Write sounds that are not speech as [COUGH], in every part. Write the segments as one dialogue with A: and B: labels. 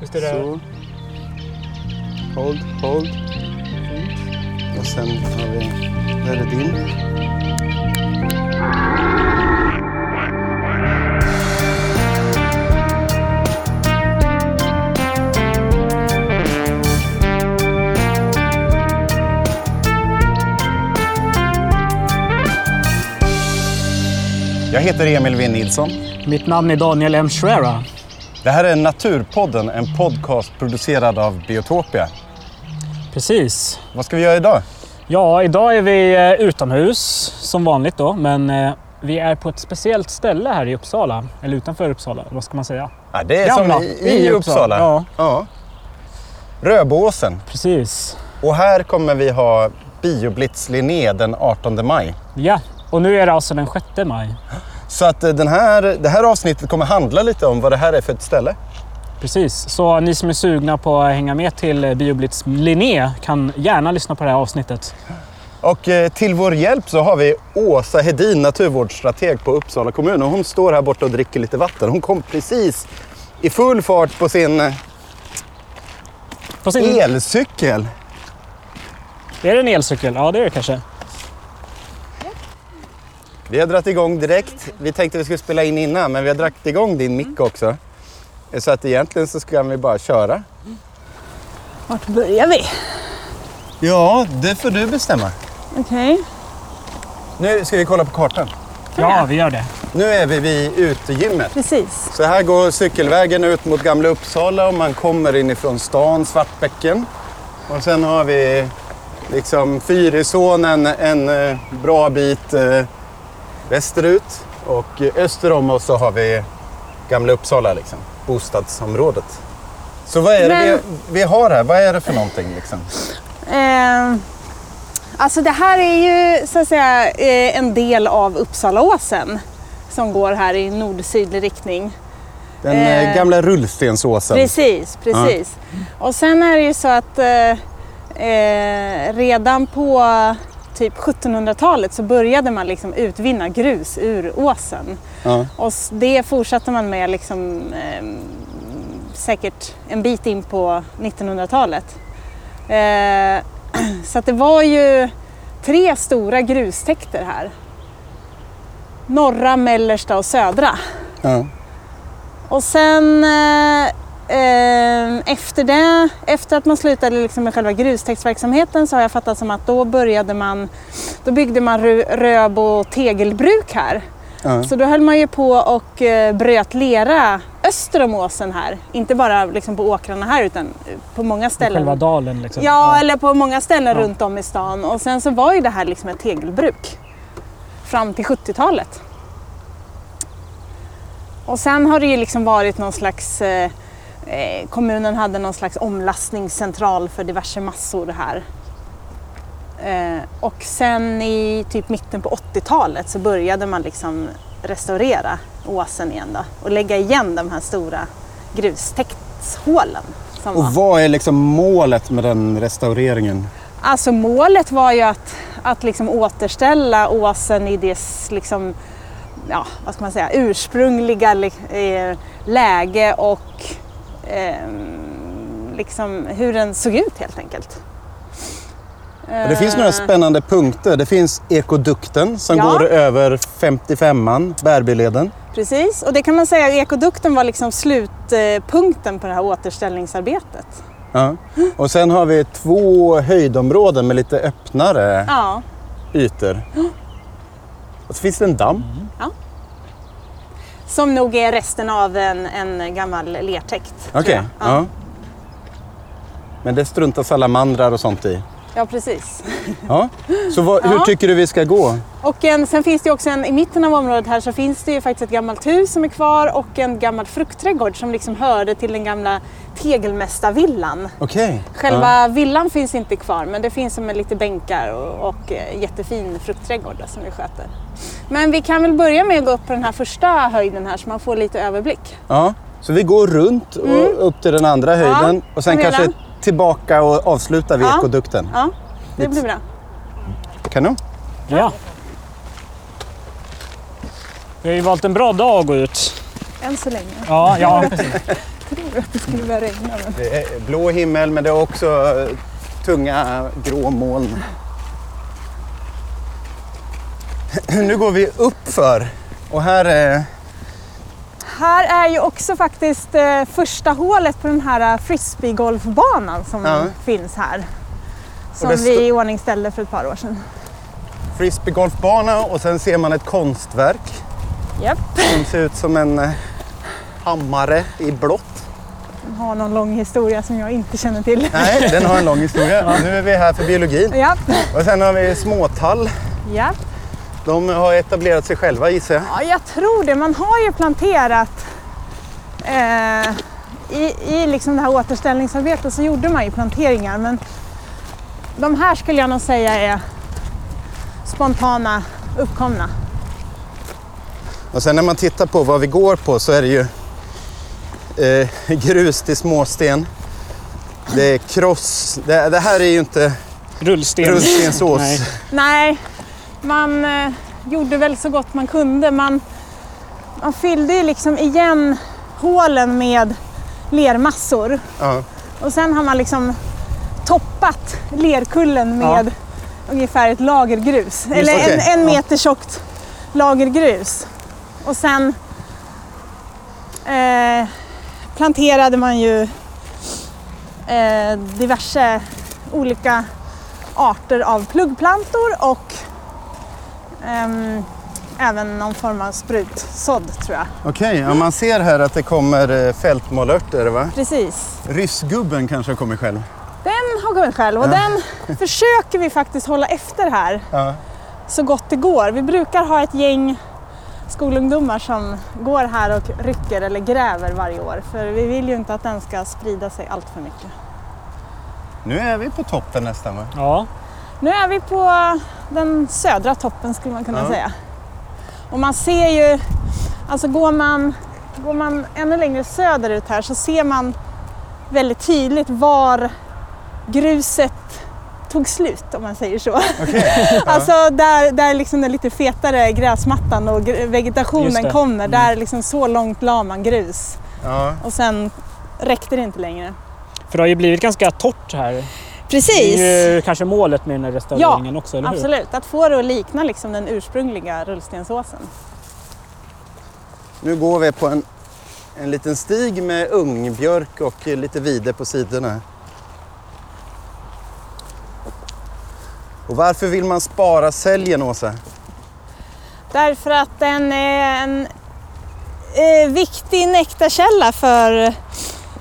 A: Just det där.
B: Så. Hold, hold. Fint. Och sen har vi... Där är din.
C: Jag heter Emil V Nilsson.
A: Mitt namn är Daniel M. Schwera.
C: Det här är Naturpodden, en podcast producerad av Biotopia.
A: Precis.
C: Vad ska vi göra idag?
A: Ja, idag är vi eh, utomhus som vanligt då, men eh, vi är på ett speciellt ställe här i Uppsala. Eller utanför Uppsala, vad ska man säga?
C: Ja, det är
A: Gamla,
C: som i, i,
A: i
C: Uppsala.
A: Uppsala, ja.
C: Röbåsen.
A: Precis.
C: Och här kommer vi ha Bioblitz Linné den 18 maj.
A: Ja, och nu är det alltså den 6 maj.
C: Så att eh, den här, det här avsnittet kommer handla lite om vad det här är för ett ställe.
A: Precis, så ni som är sugna på att hänga med till eh, Bioblitz Linné kan gärna lyssna på det här avsnittet.
C: Och eh, till vår hjälp så har vi Åsa Hedin, naturvårdsstrateg på Uppsala kommun. Och hon står här borta och dricker lite vatten. Hon kom precis i full fart på sin eh,
A: På sin...
C: elcykel.
A: Är det en elcykel? Ja, det är det kanske.
C: Vi har dragit igång direkt. Vi tänkte vi skulle spela in innan, men vi har dragit igång din mick också. Så att egentligen så ska vi bara köra.
D: Vart börjar vi?
C: Ja, det får du bestämma.
D: Okej.
C: Nu ska vi kolla på kartan.
A: Ja, vi gör det.
C: Nu är vi vid utegymmet.
D: Precis.
C: Så här går cykelvägen ut mot Gamla Uppsala och man kommer inifrån stan, Svartbäcken. Och sen har vi liksom Fyrisånen en eh, bra bit eh, västerut. Och eh, öster om oss så har vi Gamla Uppsala, liksom, bostadsområdet. Så vad är det
D: Men-
C: vi, vi har här? Vad är det för någonting? Liksom?
D: Eh, alltså det här är ju så att säga eh, en del av Uppsalaåsen som går här i nord-sydlig riktning.
C: Den eh,
D: Eh,
C: gamla rullstensåsen.
D: Precis, precis. Och sen är det ju så att eh, eh, redan på typ 1700-talet så började man liksom utvinna grus ur åsen.
C: Ja.
D: Och s- det fortsatte man med liksom, ehm, säkert en bit in på 1900-talet. Eh, [CLEARS THROAT] så att det var ju tre stora grustäkter här. Norra, mellersta och södra.
C: Ja.
D: Och sen eh, eh, efter det, efter att man slutade liksom med själva grustäktsverksamheten så har jag fattat som att då började man, då byggde man rö- röb och tegelbruk här.
C: Ja.
D: Så då höll man ju på och eh, bröt lera öster om åsen här. Inte bara liksom på åkrarna här utan eh, på många ställen.
A: Själva dalen liksom.
D: Ja, eller på många ställen
A: Ja.
D: runt om i stan. Och sen så var ju det här liksom ett tegelbruk fram till 70-talet. Och sen har det ju liksom varit någon slags... Eh, eh, kommunen hade någon slags omlastningscentral för diverse massor här. Eh, och sen i typ mitten på 80-talet så började man liksom restaurera åsen igen då och lägga igen de här stora grustäktshålen. som var.
C: Och vad är liksom målet med den restaureringen?
D: Alltså målet var ju att, att liksom återställa åsen i dess liksom, ja, vad ska man säga, ursprungliga li- eh, läge och ehm, liksom hur den såg ut helt enkelt.
C: Ja, Det finns några spännande punkter. Det finns ekodukten som
D: Eh. Ja.
C: går över 55an, Bärbyleden.
D: Eh, Precis, och det kan man säga, ekodukten var liksom slutpunkten på det här återställningsarbetet.
C: Ja. Och sen har vi två höjdområden med lite öppnare
D: Ja.
C: ytor. Och så finns det en damm.
D: Mm, Som nog är resten av en, en gammal lertäkt. tror
C: Okej.
D: jag.
C: Ja.
D: Ja.
C: Men det struntar salamandrar och sånt i.
D: ja, precis.
C: Ja. Så vad, hur
D: Ja.
C: tycker du vi ska gå?
D: Och en, sen finns det ju också en, i mitten av området här så finns det ju faktiskt ett gammalt hus som är kvar och en gammal fruktträdgård som liksom hörde till den gamla Tegelmästarvillan.
C: Okej.
D: Själva villan finns inte kvar men det finns som en lite bänkar och, och eh, jättefin fruktträdgård då, som vi sköter. Men vi kan väl börja med att gå upp på den här första höjden här så man får lite överblick.
C: Ja. Så vi går runt och
D: Mm.
C: upp till den andra höjden och sen
D: kom
C: kanske
D: igen.
C: tillbaka och avslutar vid
D: Ja.
C: ekodukten.
D: Ja, det blir bra.
C: Kanon.
A: Ja. Vi har ju valt en bra dag att gå ut.
D: Än så länge.
C: [LAUGHS]
A: Ja, ja precis.
D: tror att det skulle börja regna. Men...
C: Det är blå himmel men det är också eh, tunga grå moln. [CLEARS THROAT] Nu går vi uppför och här är...
D: Här är ju också faktiskt eh, första hålet på den här eh, frisbeegolfbanan som
C: Ja.
D: finns här. Som
C: det
D: vi
C: sto-
D: iordningställde för ett par år sedan.
C: frisbeegolfbana och sen ser man ett konstverk
D: Japp.
C: som ser ut som en eh, hammare i blått.
D: Den har någon lång historia som jag inte
C: [LAUGHS]
D: känner till.
C: Nej, den har en lång historia. Nu är vi här för biologin.
D: Ja,
C: Och sen har vi småtall.
D: ja.
C: De har etablerat sig själva gissar jag.
D: ja jag tror det. Man har ju planterat eh, i, i liksom det här återställningsarbetet så gjorde man ju planteringar men de här skulle jag nog säga är spontana, uppkomna.
C: Och sen när man tittar på vad vi går på så är det ju eh, [LAUGHS] grus till småsten. Det är kross. Det, det här är ju inte
A: Rullsten.
C: rullstensås.
A: Nej.
D: Nej, man eh, gjorde väl så gott man kunde. Man, man fyllde ju liksom igen hålen med lermassor
C: [LAUGHS] Ja.
D: och sen har man liksom toppat lerkullen
A: Ja.
D: med ungefär ett lager grus. Eller en,
C: okej.
D: en
A: Ja.
D: meter tjockt lager grus. Och sen eh, planterade man ju eh, diverse olika arter av pluggplantor och ehm, även någon form av sprutsådd tror jag.
C: Okej, ja, man ser här att det kommer eh, fältmålörter va?
D: Precis.
C: Ryssgubben kanske har kommit själv.
D: Den har kommit själv och
C: Ja.
D: den försöker vi faktiskt hålla efter här.
C: Ja.
D: så gott det går. Vi brukar ha ett gäng skolungdomar som går här och rycker eller gräver varje år för vi vill ju inte att den ska sprida sig allt för mycket.
C: Nu är vi på toppen nästan va?
A: Ja,
D: Nu är vi på den södra toppen skulle man kunna
C: Ja.
D: säga. Och man ser ju, alltså går man, går man ännu längre söderut här så ser man väldigt tydligt var gruset tog slut om man säger så. [LAUGHS] alltså där, där liksom den lite fetare gräsmattan och gr-
A: Just
D: vegetationen
A: det.
D: kommer,
A: Mm.
D: där liksom så långt la man grus
C: Ja.
D: och sen räckte det inte längre.
A: för det har ju blivit ganska torrt här.
D: Precis!
A: Det är ju kanske målet med den här restaureringen också, eller hur?
D: Absolut, att få det att likna liksom den ursprungliga rullstensåsen.
C: Nu går vi på en, en liten stig med ungbjörk och eh, lite vide på sidorna. Och varför vill man spara säljen Åsa?
D: Därför att den är en eh, viktig nektarkälla för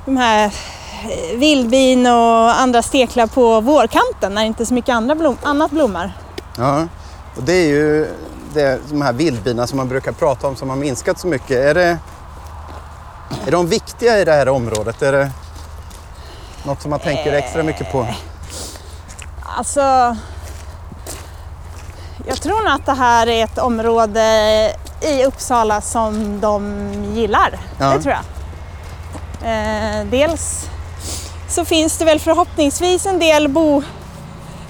D: de här eh, vildbin och andra steklar på vårkanten när inte så mycket andra blom, annat blommar.
C: Ja, och det är ju det, de här vildbina som man brukar prata om som har minskat så mycket. Är, det, är de viktiga i det här området? Är det något som man
D: Eh,
C: tänker extra mycket på?
D: Alltså, jag tror nog att det här är ett område i Uppsala som de gillar.
C: Ja.
D: Det tror jag. Eh, dels så finns det väl förhoppningsvis en del bo,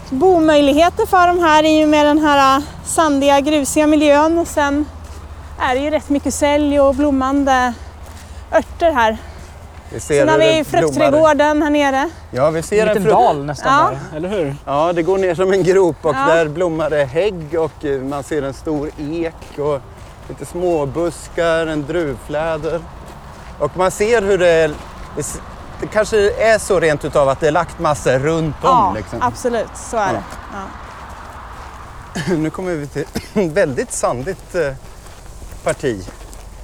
D: bomöjligheter för de här i och med den här eh, sandiga, grusiga miljön. Och sen är det ju rätt mycket sälj och blommande örter här.
C: Vi
D: Sen
C: hur
D: har vi
C: det blommar.
D: fruktträdgården här nere.
C: Ja, vi
A: Det är
C: ser
A: en
C: en
A: liten
C: frukt.
A: dal nästan
D: Ja.
A: där, eller hur?
C: Ja, det går ner som en grop och
D: Ja.
C: där blommar det hägg och eh, man ser en stor ek och lite småbuskar, en druvfläder. Och man ser hur det... Det, s- det kanske är så rent utav att det är lagt massor runt om. liksom.
D: absolut, så är
C: Ja.
D: det. Ja.
C: [CLEARS THROAT] Nu kommer vi till väldigt sandigt eh, parti.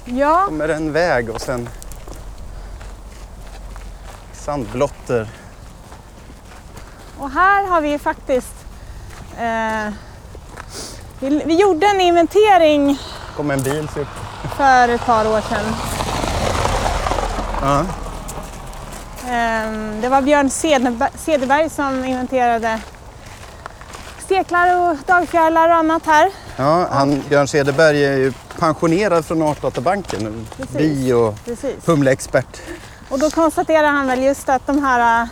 D: Ja,
C: Kommer en väg och sen sandblotter.
D: och här har vi ju faktiskt... Eh, vi, vi gjorde en inventering
C: Kommer en bil. Typ.
D: för ett par år sedan.
C: Ja.
D: Eh, det var Björn Cederberg- Cederberg som inventerade steklar och dagfjärilar och annat här.
C: Ja, han, Björn Cederberg är ju pensionerad från Artdatabanken.
D: Precis.
C: Bi och
D: Precis.
C: humleexpert.
D: Och då konstaterar han väl just att de här eh,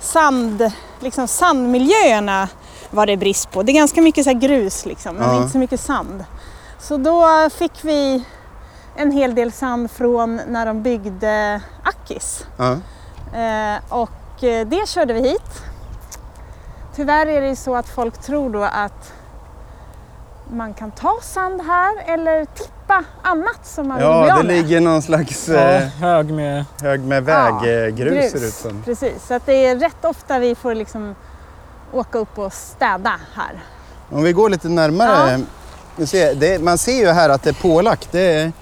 D: sand, liksom sandmiljöerna var det brist på. Det är ganska mycket så här grus liksom, men
C: Ja.
D: inte så mycket sand. Så då fick vi en hel del sand från när de byggde Akis.
C: Ja.
D: Eh, och eh, det körde vi hit. Tyvärr är det ju så att folk tror då att man kan ta sand här eller tippa annat som man vill bli
C: ja, det
D: av med.
C: ligger någon slags
A: Ja,
C: eh,
A: hög med...
C: hög med
D: Ja,
C: väggrus ser det ut som.
D: Precis, så att det är rätt ofta vi får liksom åka upp och städa här.
C: Om vi går lite närmare. Nu ser jag- det, man ser ju här att det är pålagt. Det är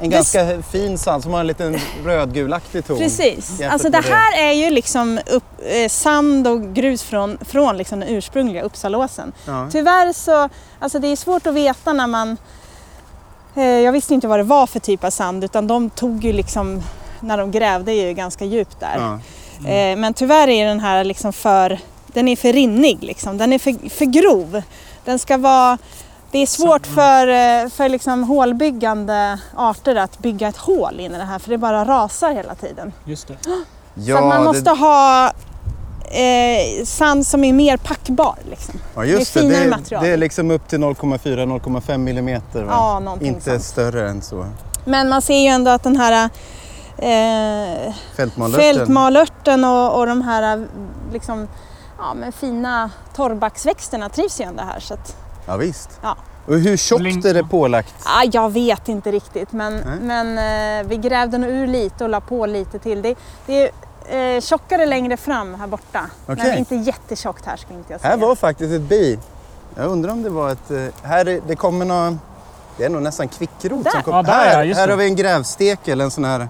C: en ganska fin sand som har en liten rödgulaktig ton.
D: Precis,
C: Jämfört
D: alltså det
C: med det.
D: här är ju liksom upp, eh, sand och grus från, från liksom den ursprungliga Uppsalåsen.
C: Ja.
D: Tyvärr så, alltså det är svårt att veta när man... Eh, jag visste inte vad det var för typ av sand utan de tog ju liksom, när de grävde ju ganska djupt där.
C: Ja.
D: Eh, men tyvärr är den här liksom för, den är för rinnig liksom. Den är för, för grov. Den ska vara, det är svårt för, eh, för liksom hålbyggande arter att bygga ett hål in i det här för det bara rasar hela tiden.
A: Just det.
C: Ja,
D: Så att man
C: det-
D: måste ha eh, sand som är mer packbar liksom.
C: ja, just
D: det är
C: det. Det,
D: finare
C: är,
D: material.
C: det är liksom upp till 0,4-0,5 millimeter. Va?
D: Ja, någonting
C: Inte
D: sånt.
C: större än så.
D: Men man ser ju ändå att den här eh,
C: Fältmalörten.
D: fältmalörten och, och de här eh, liksom, ja, men fina torrbacksväxterna trivs ju ändå här. Så att,
C: Ja, visst.
D: Ja.
C: Och hur tjockt
A: Blink-
C: är det pålagt?
D: ah, jag vet inte riktigt men,
C: Nej.
D: men eh, vi grävde nog ur lite och la på lite till. Det, det är eh, tjockare längre fram här borta. Men
C: Okej.
D: inte jättetjockt här skulle inte jag säga.
C: Här var faktiskt ett bi. Jag undrar om det var ett... eh, Här, är- det kommer någon... Det är nog nästan kvickrot
D: Där.
C: som kommer.
A: Ja, där, ja,
C: här,
A: just
C: här
A: det.
C: har vi en grävstek eller en sån här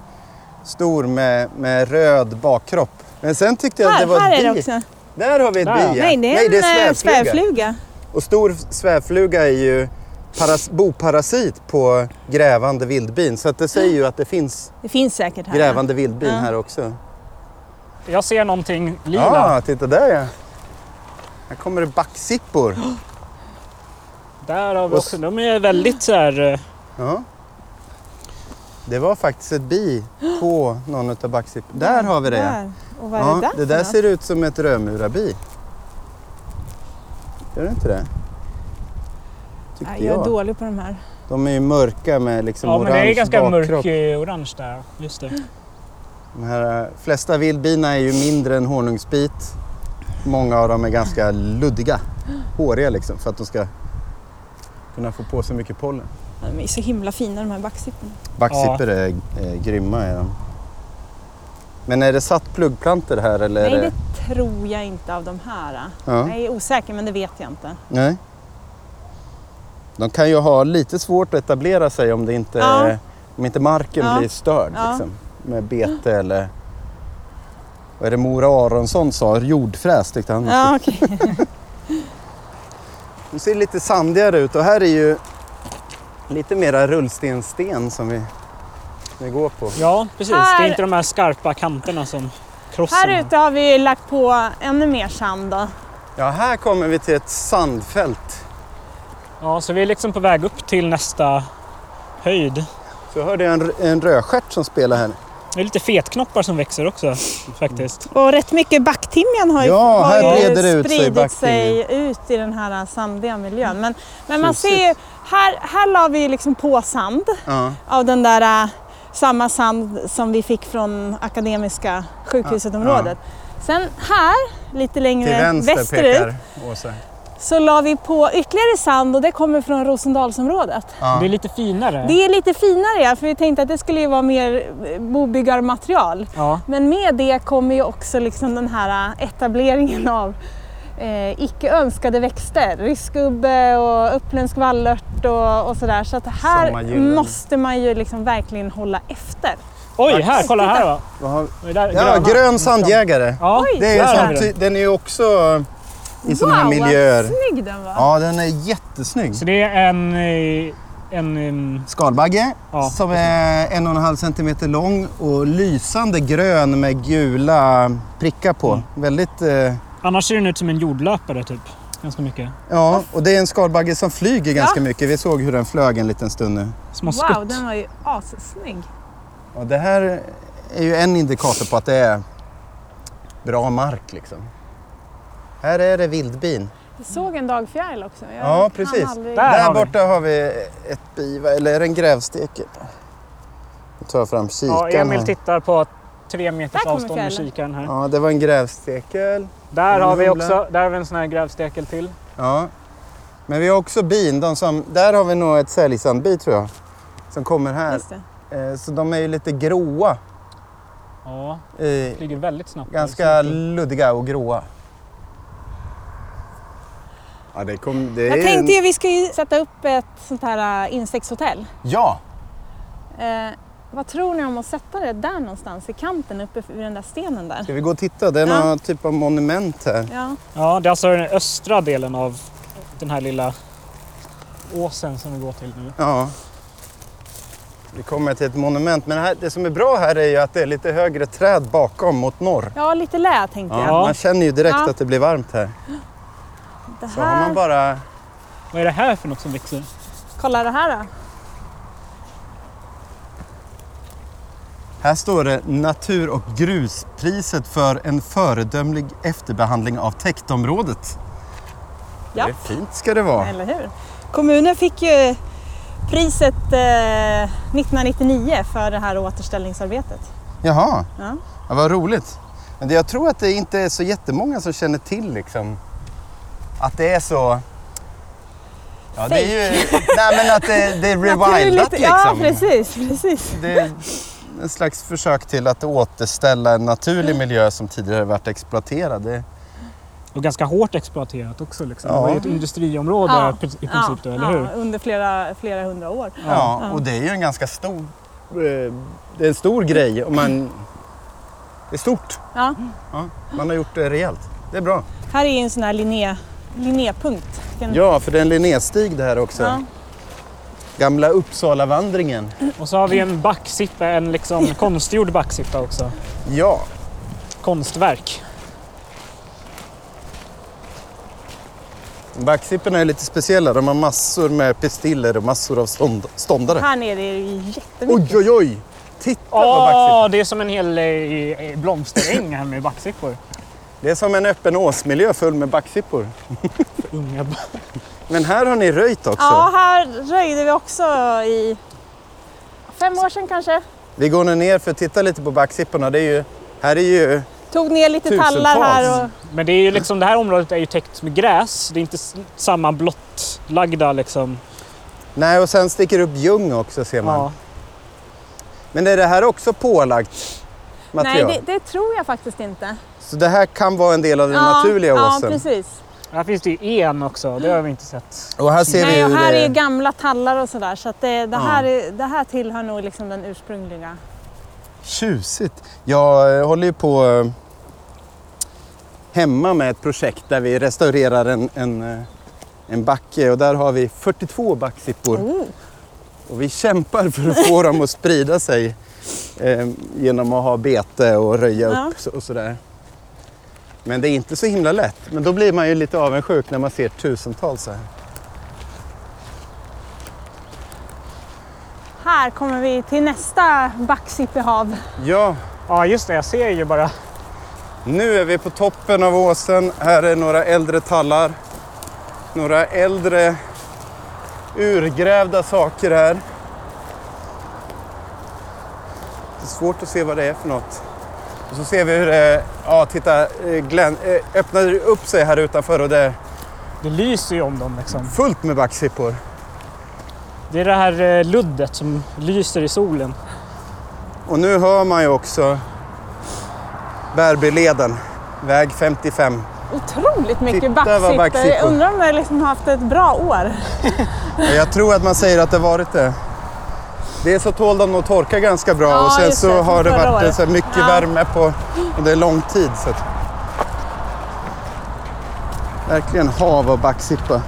C: stor med, med röd bakkropp. Men sen tyckte jag att det var
D: här, här
C: ett
D: är
C: bi.
D: det också.
C: Där har vi ett
A: Där,
C: bi.
A: ja.
C: ja.
D: Nej, det är en eh, svävfluga.
C: Och stor svävfluga är ju paras, boparasit på grävande vildbin. Så att det säger ju att det finns
D: Det finns säkert här.
C: grävande vildbin
D: Ja.
C: här också.
A: Jag ser någonting lila.
C: Ja, titta där ja. Här kommer det backsippor.
A: Där har vi
C: Och
A: också. De är väldigt så här... eh,
C: Ja. Det var faktiskt ett bi på någon av backsipporna. Där har vi det. ja.
D: Där. Och vad är det
C: ja, det
D: där för
C: där
D: något?
C: ser ut som ett rödmurabi. Gör det inte det? Tyckte
D: Nej, jag är
C: jag.
D: dålig på de här.
C: De är ju mörka med liksom
A: Ja, men
C: orange
A: det är ganska
C: bakkropp.
A: mörk-orange där. Just det.
C: De här, eh, flesta vildbina är ju mindre än honungsbit. Många av dem är ganska luddiga, håriga liksom för att de ska kunna få på sig mycket pollen.
D: Ja, De är så himla fina de här backsipporna.
C: Backsippor är, är grymma är de. Men är det satt pluggplanter här eller?
D: Nej,
C: är det...
D: det tror jag inte av de här. äh.
C: Ja.
D: Jag är osäker, men det vet jag inte.
C: Nej. De kan ju ha lite svårt att etablera sig om, det inte,
D: Ja.
C: om inte marken
D: Ja.
C: blir störd
D: Ja.
C: liksom, med bete eller vad är det Mora Aronsson sa? Jordfräs tyckte han.
D: Ja, okej.
C: [LAUGHS] De ser lite sandigare ut och här är ju lite mera rullstenssten som vi, vi går på.
A: Ja, precis. Det
D: Här-
A: är inte de här skarpa kanterna som krossar.
D: Här ute har vi ju lagt på ännu mer sand. Då.
C: Ja, här kommer vi till ett sandfält.
A: Ja, så vi är liksom på väg upp till nästa höjd.
C: Så hörde jag en, en rödstjärt som spelar här.
A: Det är lite fetknoppar som växer också faktiskt.
D: Och rätt mycket backtimjan har ju,
C: Ja,
D: har
C: här
D: ju
C: breder det ut sig
D: spridit sig
C: backtimjan.
D: ut i den här äh, sandiga miljön. Men, men man
C: Tjusigt.
D: ser ju, här, här la vi ju liksom på sand
C: Ja.
D: av den där äh, samma sand som vi fick från Akademiska sjukhusetområdet. Sen här, lite
C: Till
D: längre
C: vänster
D: västerut,
C: pekar Åsa.
D: så la vi på ytterligare sand och det kommer från Rosendalsområdet.
C: Ja.
A: Det är lite finare.
D: Det är lite finare ja, för vi tänkte att det skulle ju vara mer eh, bobyggarmaterial.
A: Ja,
D: Men med det kommer ju också liksom den här eh, etableringen av eh, icke önskade växter, ryskgubbe och uppländsk vallört och, och sådär. Så att här
C: Sommargyllen.
D: måste man ju liksom verkligen hålla efter.
A: Oj, här, kolla här va.
C: Vad har-
A: Det där,
C: Ja,
A: gröna.
C: grön sandjägare.
A: Ja,
D: Oj,
C: Det är ju
A: där har
C: sån
A: vi
C: ty-
A: den.
C: den är ju också i sådana
D: wow,
C: här miljöer.
D: vad snygg den var!
C: Ja, den är jättesnygg.
A: Så det är en... eh, en ehm,
C: Skalbagge
A: Ja.
C: som är en och en halv centimeter lång och lysande grön med gula prickar på.
A: Mm.
C: Väldigt... Eh,
A: annars ser den ut som en jordlöpare typ. Ganska mycket.
C: ja, och det är en skalbagge som flyger ganska mycket. Vi såg hur den flög en liten stund nu.
A: Små skutt.
D: Wow, den var ju assnygg!
C: Och det här är ju en indikator på att det är bra mark liksom. Här är det vildbin.
D: Jag såg en dagfjäril också. Jag
C: Ja,
D: hann
C: precis.
D: aldrig-
A: Där.
C: Där,
A: har vi.
C: borta har vi ett biva, eller en grävsteke. Nu tar jag fram
A: Ja,
C: kikaren.
A: Emil
C: här.
A: tittar på tre meters
D: Där kommer
A: avstånd med
D: fjällen.
A: kikaren här.
C: ja, det var en grävstekel.
A: Där har vi
C: Humla.
A: också, där har vi en sån här grävstekel till.
C: Ja. Men vi har också bin. De som, där har vi nog ett säljsandbi tror jag. Som kommer här.
D: Just det.
C: Eh, Så de är ju lite gråa.
A: Ja,
C: I,
A: flyger väldigt snabbt.
C: ganska luddiga och gråa.
B: Ja, det kom, det är
D: Jag
B: ju
D: tänkte
B: en...
D: ju vi ska ju sätta upp ett sånt här äh, insektshotell.
C: Ja,
D: Eh, vad tror ni om att sätta det där någonstans i kanten uppe vid den där stenen där?
C: ska vi gå och titta? Det är
D: Ja.
C: någon typ av monument här.
D: Ja,
A: Ja, det är alltså den östra delen av den här lilla åsen som vi går till nu.
C: Ja. Vi kommer till ett monument. Men det, här, det som är bra här är ju att det är lite högre träd bakom mot norr.
D: ja lite lä tänkte
C: Ja.
D: jag.
C: Man känner ju direkt
D: Ja.
C: att det blir varmt här.
D: Det
C: Så har
D: här,
C: man bara...
A: Vad är det här för något som växer?
D: Kolla det här då.
C: Här står det Natur och gruspriset för en föredömlig efterbehandling av täktområdet.
D: Ja.
C: Det är fint ska det vara.
D: Eller hur? Kommunen fick ju priset eh, 1999 för det här återställningsarbetet.
C: Jaha,
D: Ja.
C: ja, vad roligt. Men det- jag tror att det inte är så jättemånga som känner till liksom, att det är så... Ja, det är ju... Nej, men att det, det är rewildat
D: [LAUGHS] Naturligt-
C: liksom.
D: Ja, precis. precis.
C: Det är en slags försök till att återställa en naturlig miljö som tidigare varit exploaterad. Det,
A: Och ganska hårt exploaterat också. Liksom.
C: Ja.
A: Det var ju ett industriområde
D: Ja,
A: i princip, då, eller hur?
D: Ja, under flera, flera hundra år.
C: ja,
D: Ja.
C: och det är ju en ganska stor... eh, Det är en stor grej om man... Det är stort.
D: Ja.
C: Ja, man har gjort det rejält. Det är bra.
D: Här är ju en sån här Linné, Linnépunkt. Den-
C: Ja, för det är en Linnéstig det här också.
D: Ja.
C: Gamla Uppsalavandringen.
A: Och så har vi en backsippa, en
D: [LAUGHS]
A: liksom konstgjord backsippa också.
C: Ja.
A: Konstverk.
C: Backsipporna är lite speciella. De har massor med pistiller och massor av stånd- ståndare.
D: Här nere är det ju jättemycket.
C: Oj, oj, oj! Titta vad
A: Åh,
C: backsippor...
A: det är som en hel eh, eh, blomsteräng här med
C: [LAUGHS]
A: backsippor.
C: Det är som en öppen åsmiljö full med backsippor.
A: Unga b-
C: Men här har ni röjt också.
D: Ja, här röjde vi också i fem år sedan kanske.
C: Vi går nu ner för att titta lite på backsipporna. Det är ju, här är ju...
D: Tog ner lite tallar här. Och,
A: Men det, är ju liksom, det här området är ju täckt med gräs. Det är inte s- samma blottlagda liksom.
C: Nej, och sen sticker upp ljung också ser man.
A: Ja.
C: Men är det här också pålagt
D: nej,
C: material?
D: det, det tror jag faktiskt inte.
C: Så det här kan vara en del av den naturliga
D: ja,
C: åsen?
D: precis.
A: Här finns det ju en också, det har vi inte sett.
C: Och här ser vi
D: Nej, och
C: hur
D: här
C: det...
D: är ju gamla tallar och sådär. Så att det, det, här är, det här tillhör nog liksom den ursprungliga.
C: Tjusigt! Jag eh, håller ju på eh, hemma med ett projekt där vi restaurerar en, en, eh, en backe och där har vi 42 backsippor. Och vi kämpar för att få dem att sprida sig eh, genom att ha bete och röja
D: Ja.
C: upp så- och sådär. Men det är inte så himla lätt. Men då blir man ju lite avundsjuk när man ser tusentals så här.
D: Här kommer vi till nästa backsippehav.
C: Ja,
A: Ja, just det. Jag ser ju bara.
C: Nu är vi på toppen av åsen. Här är några äldre tallar. Några äldre urgrävda saker här. Det är svårt att se vad det är för något. Och så ser vi hur det... Ja, titta. eh, Glän, eh, öppnar upp sig här utanför och det är
A: Det lyser ju om dem liksom.
C: fullt med backsippor.
A: Det är det här eh, luddet som lyser i solen.
C: Och nu hör man ju också Bärbyleden, väg 55.
D: Otroligt mycket
C: Titta vad
D: backsippor. Jag
C: backsippor.
D: undrar om de liksom har haft ett bra år.
C: Ja, Jag tror att man säger att det varit det. Dels så tål de nog torka ganska bra
D: Ja,
C: och sen
D: just
C: så
D: det, som
C: har det
D: förra
C: varit
D: året.
C: så här mycket
D: Ja.
C: värme på under lång tid. Så att... Verkligen hav och backsippa.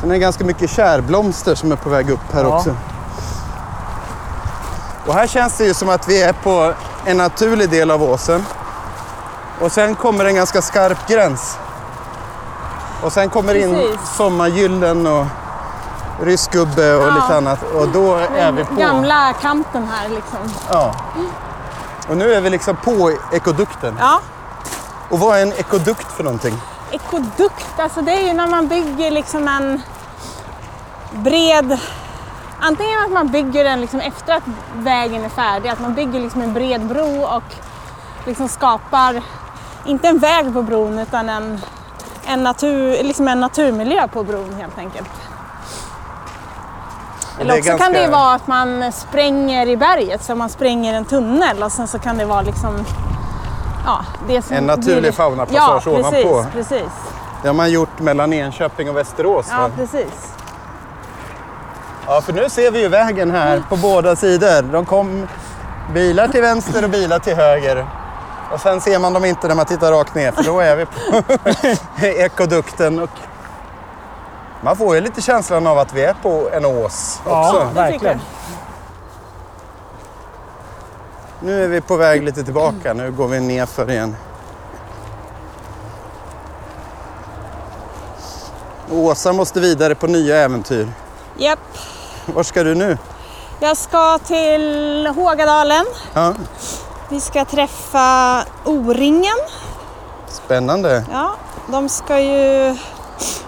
C: Sen är det ganska mycket kärblomster som är på väg upp här
A: Ja.
C: också. Och här känns det ju som att vi är på en naturlig del av åsen. Och sen kommer en ganska skarp gräns. Och sen kommer in
D: Precis.
C: sommargyllen och ryskgubbe och
D: Ja.
C: lite annat. Och då är vi på.
D: Gamla kanten här liksom.
C: Ja. Och nu är vi liksom på ekodukten.
D: Ja,
C: Och vad är en ekodukt för någonting?
D: ekodukt, alltså det är ju när man bygger liksom en bred... Antingen att man bygger den liksom efter att vägen är färdig, att man bygger liksom en bred bro och liksom skapar, inte en väg på bron utan en, en, natur, liksom en naturmiljö på bron helt enkelt. Eller
C: Det är
D: också kan det ju
C: ganska-
D: vara att man spränger i berget, så man spränger en tunnel och sen så kan det vara liksom Ja, det som
C: En naturlig
D: blir-
C: faunapassage
D: ja, precis,
C: ovanpå.
D: Precis,
C: Det har man gjort mellan Enköping och Västerås.
D: ja,
C: va?
D: precis.
C: Ja, för nu ser vi ju vägen här på båda sidor. De kom bilar till vänster och bilar till höger. Och sen ser man dem inte när man tittar rakt ner för då är vi på [LAUGHS] ekodukten. Och man får ju lite känslan av att vi är på en ås också.
A: Ja, verkligen.
C: Nu är vi på väg lite tillbaka. Nu går vi nerför igen. Åsa måste vidare på nya äventyr.
D: Japp.
C: Var ska du nu?
D: Jag ska till Hågadalen.
C: Ja,
D: Vi ska träffa O-ringen.
C: spännande.
D: Ja, de ska ju...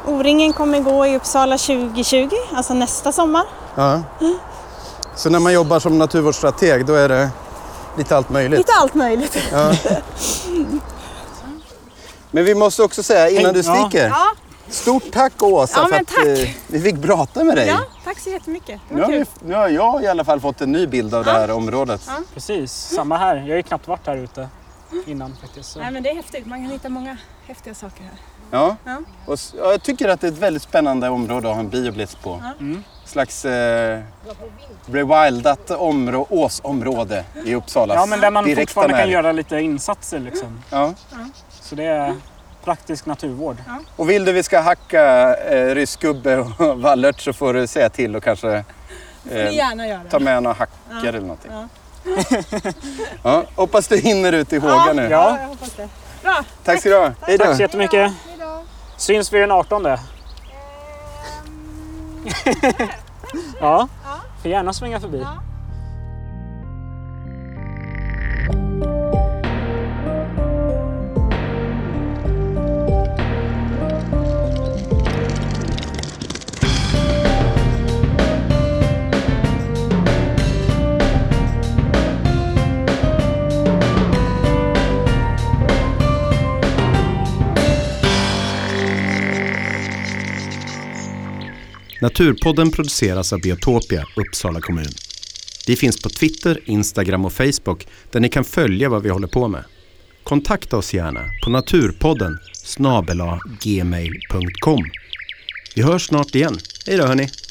D: O-ringen kommer gå i Uppsala 2020, alltså nästa sommar.
C: Ja. Så när man jobbar som naturvårdsstrateg då är det lite allt möjligt.
D: Lite allt möjligt.
C: Men vi måste också säga innan du
A: Ja.
C: sticker.
D: Ja,
C: Stort tack Åsa
D: Ja,
C: för
D: men
C: att
D: tack.
C: eh, vi fick prata med dig.
D: ja tack så jättemycket. Det
C: Nu,
D: var
C: har vi,
D: kul.
C: nu har jag i alla fall fått en ny bild av det här området.
A: Precis, samma här. Jag har ju knappt varit här ute innan faktiskt. Så.
D: Nej, men det är häftigt. Man kan hitta många häftiga saker här.
C: Ja.
D: Ja.
C: Och, s- ja, jag tycker att det är ett väldigt spännande område att ha en bioblitz på.
A: Mm.
C: slags eh, rewildat områ- åsområde i Uppsala.
A: Ja, men där man
C: Direkta
A: fortfarande kan
C: närhet.
A: göra lite insatser liksom.
C: Ja.
A: Så det är praktisk naturvård.
C: Och vill du vi ska hacka eh, ryskgubbe och [LAUGHS] vallört så får du säga till och kanske
D: Ni
C: eh,
D: gärna göra.
C: ta med några hackor eller någonting. [LAUGHS] Ja. hoppas du hinner ut i Håga nu.
A: Ja,
D: jag hoppas det.
C: Tack ska du ha. Hej då.
A: tack så jättemycket. Syns vi den 18? Ehm. [LAUGHS] Ja, får gärna svänga förbi.
E: Naturpodden produceras av Biotopia, Uppsala kommun. Vi finns på Twitter, Instagram och Facebook där ni kan följa vad vi håller på med. Kontakta oss gärna på naturpodden snabela gmail.com. Vi hörs snart igen. Hej då hörni!